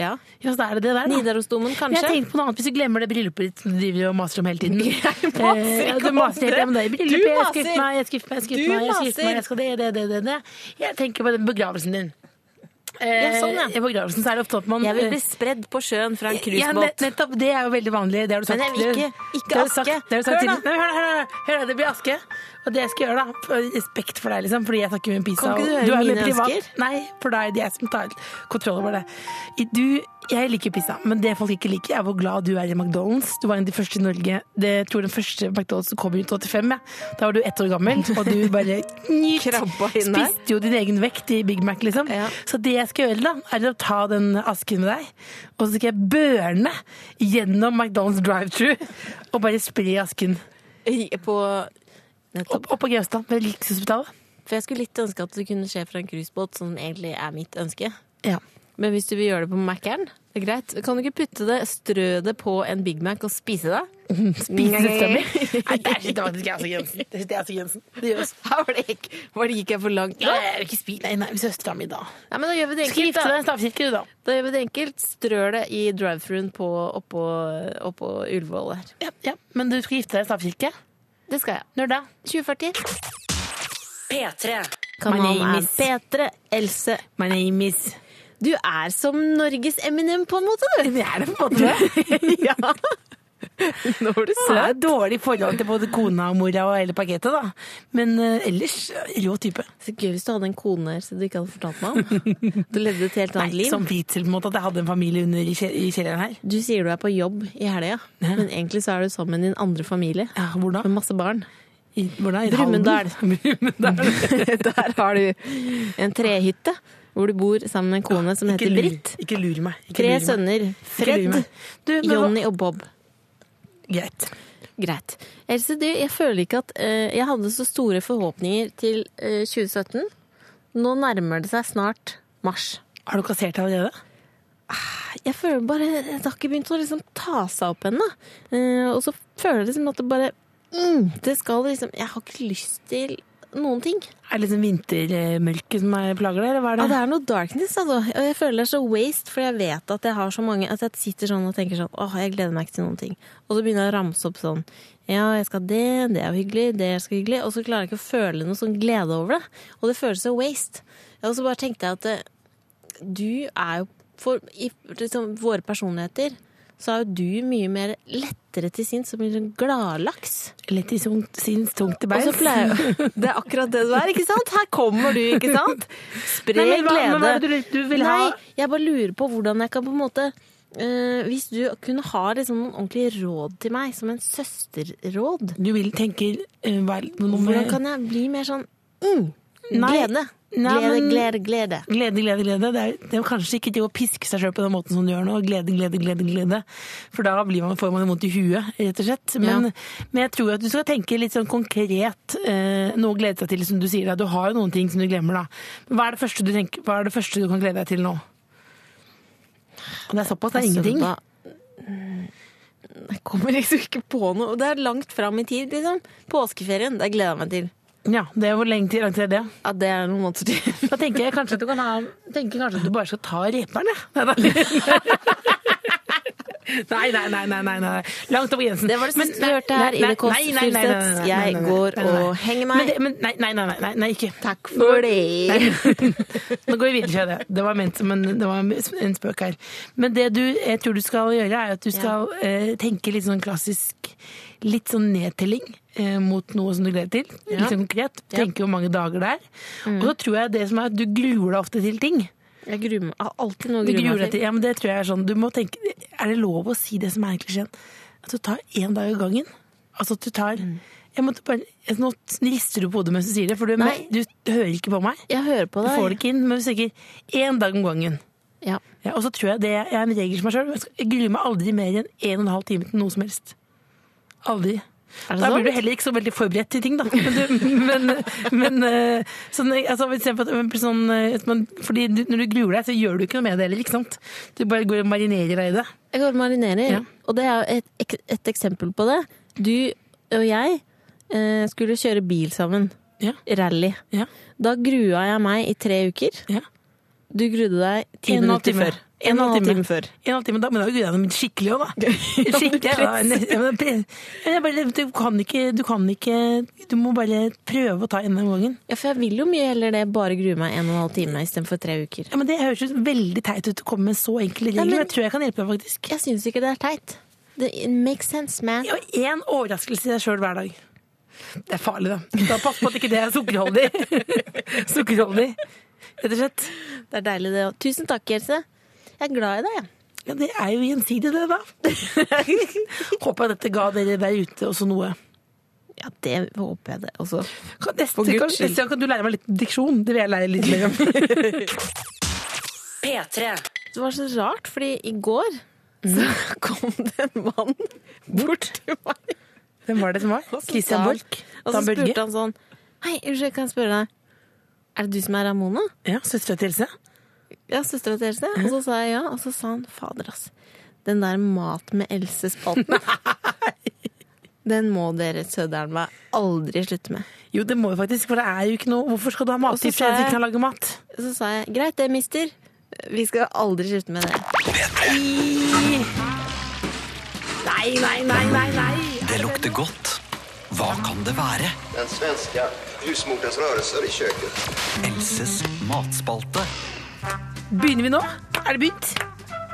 Ja. Ja, så da er det det der, da. Nidarosdomen, Men kanskje? Jeg tenkte på noe annet hvis du glemmer det bryllupet ditt som du driver og maser om hele tiden. Jeg maser Eh, ja, ikke du om maser det. hele tiden om det. i Du Bryllupet, jeg skal maser. gifte meg, jeg skal gifte meg, jeg skal Du gifte meg, jeg skal maser. gifte meg, jeg skal det, det, det, det, det. Jeg tenker på den begravelsen din. Ja, sånn, ja. Eh, I begravelsen så er det ofte at man Jeg vil bli spredd på sjøen fra en ja, nett- cruisebåt. nettopp. Det er jo veldig vanlig. Det har du sagt. Men jeg vil ikke- Det- ikke det har du sagt- aske. Det har du sagt Hør tidlig- da. Nei, men hør, da, hør, da, hør, da, det blir aske. Og det jeg skal gjøre, da, for respekt for deg, liksom, fordi jeg snakker med en pisa. Kan ikke du høre og- er jo mine privat. ønsker? Nei, for da er det jeg som tar kontroll over det. I- Du, jeg liker pizza, men det folk ikke liker, er hvor glad du er i McDonald's. Du var en av de første i Norge. Det jeg tror den første McDonald's som kom ut i 85, ja. Da var du ett år gammel, og du bare nyt. Krabba inn der. Spiste jo din egen vekt i Big Mac, liksom. Ja. Så det jeg skal gjøre, da, er å ta den asken med deg, og så skal jeg børne gjennom McDonald's drive-thru og bare spre asken På Nettopp. opp, opp på Gaustad ved Rikshospitalet. For jeg skulle litt ønske at det kunne skje fra en cruisebåt, som egentlig er mitt ønske. Ja. Men hvis du vil gjøre det på Mac-en, det er greit. Kan du ikke putte det, strø det på en Big Mac og spise det? spise Nei, der sitter faktisk jeg, altså, Jensen. Der sitter jeg, altså, Jensen. Det gjør oss. Her var det ikke, var det gikk jeg for langt. Ja, jeg vil ikke spise. Nei, nei, vi søstera mi, da. Nei, men da gjør vi det Skal enkelt, gifte da. deg i stavkirke, du, da. Da gjør vi det enkelt. Strør det i drive-thruen på- oppå, oppå Ullevål der. Ja, ja. Men du skal gifte deg i stavkirke? Det skal jeg. Når da? 2040. P3. Kanalen er name is- Petre Else. My name is Du er som Norges Eminem, på en måte, du. Jeg er det på en måte det. ja. Nå var du Så det er et dårlig forhold til både kona og mora og hele pakketet, da. Men eh, ellers rå type. Så gøy hvis du hadde en kone her som du ikke hadde fortalt meg om. Du levde et helt annet Nei, liv. som Fritzel, på en måte. At jeg hadde en familie under i kje- i kjelleren her. Du sier du er på jobb i helga, men egentlig så er du sammen med din andre familie. Ja, hvor da? Med masse barn. I, hvor da? I Brumunddal. Halden? Brumunddal. Der har du en trehytte hvor du bor sammen med en kone som Ikke heter lur- Britt. Ikke lur meg. Ikke Tre lur meg. sønner. Ikke lur Fred, meg. Du, men, Jonny og Bob. Greit. Greit. Else, du, jeg føler ikke at eh, jeg hadde så store forhåpninger til eh, 2017. Nå nærmer det seg snart mars. Har du kassert allerede? Jeg føler bare Det har ikke begynt å liksom ta seg opp ennå. Eh, og så føler jeg liksom at det bare mm, Det skal liksom Jeg har ikke lyst til noen ting. Er det liksom vintermørket som er plager deg, eller hva er Ja, det det? er noe darkness, altså. Og jeg føler det er så waste, for jeg vet at jeg har så mange At jeg sitter sånn og tenker sånn åh, jeg gleder meg ikke til noen ting. Og så begynner jeg å ramse opp sånn ja, jeg skal det, det er jo hyggelig, det er skal hyggelig. Og så klarer jeg ikke å føle noe sånn glede over det. Og det føles så waste. Og så bare tenkte jeg at eh, du er jo for, I liksom, våre personligheter så er jo du mye mer lettere til sinns og blir sånn gladlaks. Litt i sunkt- sinns tungt til Og beins. så pleier Det er akkurat det du er, ikke sant? Her kommer du, ikke sant? Spre Nei, men hva- glede. men hva er det du- du vil Nei, ha? jeg bare lurer på hvordan jeg kan på en måte eh, Hvis du kunne ha liksom noen ordentlige råd til meg, som en søsterråd Du vil tenke eh, hva er det- noe med- Hvordan kan jeg bli mer sånn mm, Nei. glede? Nei, Glede, men- glede, glede. Glede, glede, glede. Det er, det er jo kanskje ikke det å piske seg sjøl på den måten som du gjør nå. Glede, glede, glede. glede. For da blir man, får man vondt i huet, rett og slett. Men, men jeg tror at du skal tenke litt sånn konkret. Eh, noe å glede deg til, som du sier. Da. Du har jo noen ting som du glemmer, da. Men hva er det første du, tenker, hva er det første du kan glede deg til nå? Og det er såpass, det er ingenting. Altså, da- Mm, Jeg kommer liksom ikke på noe. Det er langt fram i tid, liksom. Påskeferien, det gleder jeg meg til. Ja, det er Hvor lenge til- lang tid er det? Ja, det er noen måneder til. Da tenker jeg kanskje at du kan ha tenker kanskje at du bare skal ta reperen, jeg. Nei, nei, nei, nei, nei, nei. Langt over grensen. Det var det Men- siste du hørte her nei, i nei, Det Kåss nei, nei, nei, nei, nei, Furuseths. nei, Jeg nei, nei, går nei, nei. og henger meg. Men det- Men, nei, nei, nei, nei, nei, nei, ikke. Takk for det. Nå går vi videre til det. Det var ment som en, det var en spøk her. Men det du, jeg tror du skal gjøre, er at du skal eh, tenke litt sånn klassisk, litt sånn nedtelling eh, mot noe som du gleder deg til. Ja. Mm. Litt sånn konkret. Tenke hvor mange dager det er. Og så tror jeg det som er at du gruer deg ofte til ting. Jeg gruer meg. Jeg har alltid noe å Du grue gruer meg deg til, til. ja, men det tror jeg er sånn, du må tenke, er det lov å si det som er klisjeen? At du tar en dag i gangen? Altså at du tar, Mm. jeg måtte bare, jeg- nå rister du på hodet mens du sier det, for du, Nei. du hører ikke på meg. Jeg hører på Du deg. får det ikke inn, men du sier en dag om gangen. Ja. Ja, og så tror jeg det jeg er en regel for meg selv, jeg skal- jeg gruer meg aldri mer enn en og en halv time til noe som helst. Aldri. Er det Da blir sånn? du heller ikke så veldig forberedt til ting, da. Men, du, men, men eh, sånn, altså, for eksempel, at- men sånn, eh, at man- fordi du, når du gruer deg, så gjør du ikke noe med det heller, ikke sant? Du bare går og marinerer deg i det. Jeg går og marinerer. Ja. Og det er jo et, et eksempel på det. Du og jeg eh, skulle kjøre bil sammen. Ja. Rally. Ja. Da grua jeg meg i tre uker. Ja. Du grudde deg ti En og en halv minutter time. før. En og en halv time før. En halv time, da, men da gruer jeg meg skikkelig òg, da. Skikkelig, Ja, ja, men- ja, men pre- men jeg bare, du, kan ikke, du kan ikke Du må bare prøve å ta en av gangen. Ja, for jeg vil jo mye heller det. Bare grue meg en og en halv time istedenfor tre uker. Ja, men Det høres jo veldig teit ut å komme med så enkle regler, Nei, men- men jeg tror jeg kan hjelpe deg, faktisk. Jeg syns ikke det er teit. Det it makes sense, man. Ja, og én overraskelse i deg sjøl hver dag. Det er farlig, da. da pass på at ikke det er sukkerholdig. sukkerholdig, rett og slett. Det er deilig, det òg. Tusen takk, Else. Jeg er glad i deg, jeg. Ja, det er jo gjensidig, det, da. Håper jeg dette ga dere der ute også noe. Ja, det håper jeg det også. Kan, neste, For Guds kan, skyld. neste gang kan du lære meg litt diksjon. Det vil jeg lære litt mer om. P3. Det var så rart, fordi i går så Mm. kom det en mann bort til meg. Hvem var det som var? Og så sa Christian han- Borch? Og så Dan Børge? spurte han sånn Hei, unnskyld, kan jeg spørre deg Er det du som er Ramona? Ja, Søstera til Else? Ja, søstera til Else. Og Mm. så sa jeg ja, og så sa han fader, ass. Den der Mat med Else-spalten. Den må dere sødernva aldri slutte med. Jo, det må jo faktisk, for det er jo ikke noe Hvorfor skal du ha mattips sa hvis du jeg- ikke kan lage mat? Så sa jeg greit det, mister. Vi skal aldri slutte med det. Nei, nei, nei, nei, nei. Det lukter godt. Hva kan det være? Den svenska husmoderns rörelser i köket. Elses matspalte. Begynner vi nå? Er det begynt?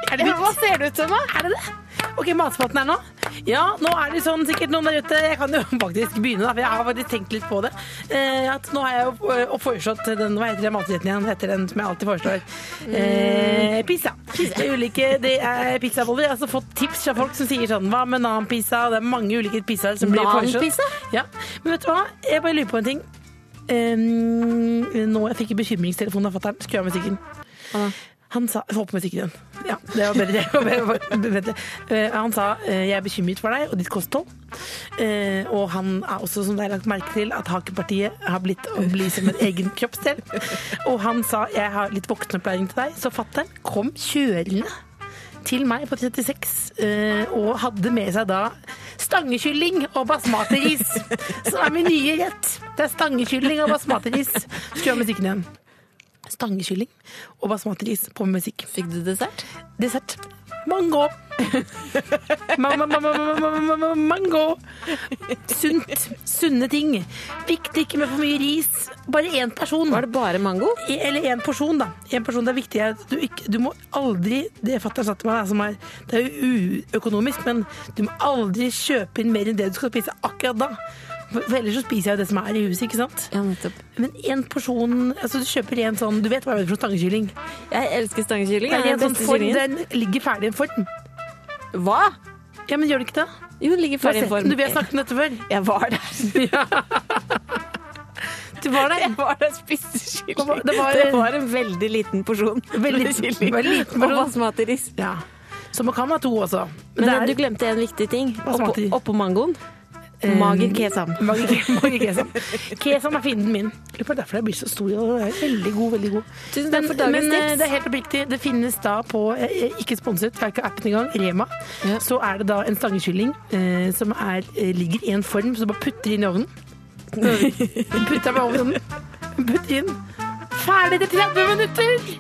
Er det begynt? hva ser det ut som, da? Er det det? Ok, matspalten er nå. Ja, nå er det sånn sikkert noen der ute Jeg kan jo faktisk begynne, da, for jeg har faktisk tenkt litt på det. Eh, at nå har jeg jo eh, og foreslått den Hva heter den matretten igjen? Heter den som jeg alltid foreslår? Eh, pizza. Det er ulike Det er pizzaboller. Jeg har altså fått tips fra folk som sier sånn Hva med nanpizza? Det er mange ulike pizzaer som blir foreslått. Nanpizza? Ja. Men vet du hva? Jeg bare lurer på en ting. Eh, nå jeg fikk bekymringstelefonen av fatter'n. Skru av musikken. Han sa Få på musikken igjen. Ja, det var bedre. Det var bedre, var bedre. Eh, han sa eh, jeg er bekymret for deg og ditt kosthold. Eh, og han er også, som det er lagt merke til, at Hakepartiet har blitt å bli som en egen kroppsdel. Og han sa jeg har litt voksenopplæring til deg, så fatter'n kom kjørende til meg på 36 eh, og hadde med seg da stangekylling og basmatiris, som er min nye rett. Det er stangekylling og basmatiris. Skru av musikken igjen. Stangekylling og basmatiris på med musikk. Fikk du dessert? Dessert. Mango. Ma- ma- ma- ma- ma- ma- ma- ma- Mango. Sunt. Sunne ting. Viktig ikke med for mye ris. Bare én person. Var det bare mango? I- Eller én porsjon, da. En porsjon, det er viktig. at Du, ikke, du må aldri Det fatter'n sa til meg, da, som er, det er jo uøkonomisk, men du må aldri kjøpe inn mer enn det du skal spise akkurat da. For, for ellers så spiser jeg jo det som er i huset, ikke sant. Ja, nettopp. Men én porsjon altså Du kjøper en sånn Du vet hva jeg mener for stangekylling. Jeg elsker stangekylling. Det er Jeg en er sånn beste form, kyllingen. den ligger ferdig i en form. Hva? Ja, men gjør det ikke det? Jo, den ligger Du har ferdig i sett den, form. du, vi har snakket om dette før. Jeg var der. Du var der. Jeg var der og spiste kylling. Det var- det var- en veldig liten porsjon. Veldig, med kylling. veldig liten Og person. basmatiris. Ja. Så man kan ha to også. Men det er- du glemte en viktig ting. Oppå, Basmati. oppå mangoen. Mager kesam. Mange, mange kesam. Eh, Kesam er fienden min. Lurer på derfor jeg blir så stor. og jeg er Veldig god, veldig god. Tusen takk Men- for dagens Men eh, tips. det er helt oppriktig. Det finnes da på, eh, ikke sponset, det er ikke appen engang, Rema. Ja. Så er det da en stangekylling eh, som er, eh, ligger i en form, så du bare putter inn i ovnen. Mm. Putter den i ovnen. Putter inn. Ferdig til 30 minutter!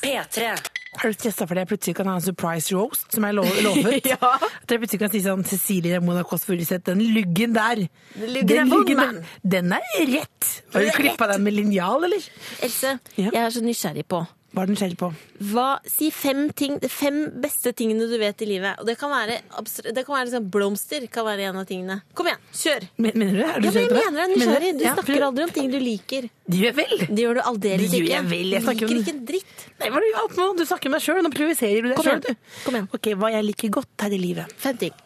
P3. Er du stressa fordi jeg plutselig kan ha en surprise roast, som jeg lo lovet? ja. At jeg plutselig kan si sånn Cecilie Mona Kåss Furuseth, den luggen der. luggen den, er vond, den, den er rett! Har du klippa den med linjal, eller? Else, Ja. jeg er så nysgjerrig på. Hva er den skjell på? Hva, si fem, ting, de fem beste tingene du vet i livet. Og det kan være, abstra- det kan være liksom blomster. kan være en av tingene. Kom igjen, kjør! Men- Mener du det? Er Ja, du men jeg skjell på det? mener jeg er nysgjerrig. Du Ja, for- snakker aldri om ting du liker. Det gjør vel? Det gjør du Det aldeles gjør ikke. jeg vel, jeg du snakker om- liker ikke en dritt. Nei, hva er det, alt nå? Du snakker med deg sjøl, nå provoserer du deg Kom sjøl, igjen. du. Kom igjen. Ok, hva jeg liker godt her i livet. Fem ting.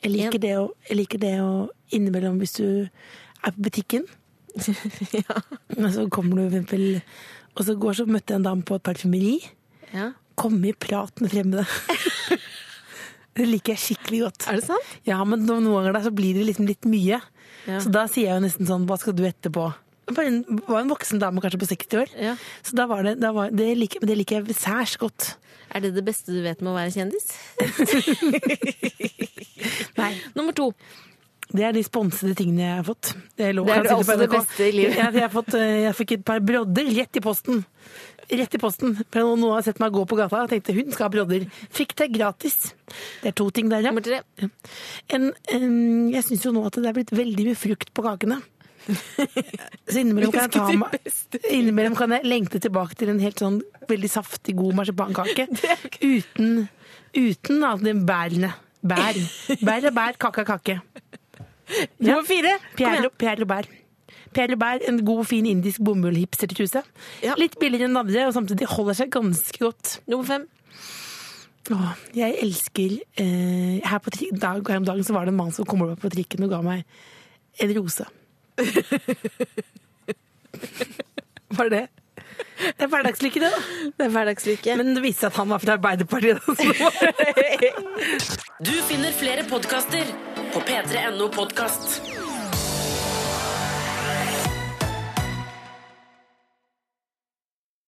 Jeg liker, det å, jeg liker det å innimellom hvis du er på butikken. Og så kommer du for eksempel Og så går så møtte jeg en dame på et parfymeri. Ja. Komme i prat med fremmede. Det liker jeg skikkelig godt. Er det sant? Ja, men no- noen ganger da, så blir det liksom litt mye. Ja. Så da sier jeg jo nesten sånn, hva skal du etterpå? Det var en, var en voksen dame kanskje på 60 år. Ja. Så da var det, da var, det, liker, men det liker jeg særs godt. Er det det beste du vet med å være kjendis? Nei. Nummer to. Det er de sponsede tingene jeg har fått. Jeg lå- Det er kan også sitte på det NRK. beste i livet. Jeg, jeg, har fått, eh, jeg fikk et par brodder rett i posten. Rett i posten. For Noen noen har sett meg gå på gata og tenkte hun skal ha brodder. Fikk det gratis. Det er to ting der, ja. Nummer tre. En, em, jeg syns jo nå at det er blitt veldig mye frukt på kakene. Så innimellom kan, jeg ta meg, innimellom kan jeg lengte tilbake til en helt sånn veldig saftig, god marsipankake. Uten, uten at de bærene. Bær. Bær er bær, kake er kake. Ja. Nummer fire. Kom igjen. Pierre, Pierre Robert. Pierre Robert, en god, fin indisk bomullhipstertruse. Ja. Litt billigere enn andre, og samtidig holder seg ganske godt. Nummer fem. Åh, jeg elsker eh, her, på tri- dag, her om dagen så var det en mann som kom over på trikken og ga meg en rose. var det det? er hverdagslykke, det. da. Det er hverdagslykke. Men det viste seg at han var fra Arbeiderpartiet. da, så det var- Du finner flere podkaster på p3.no podkast.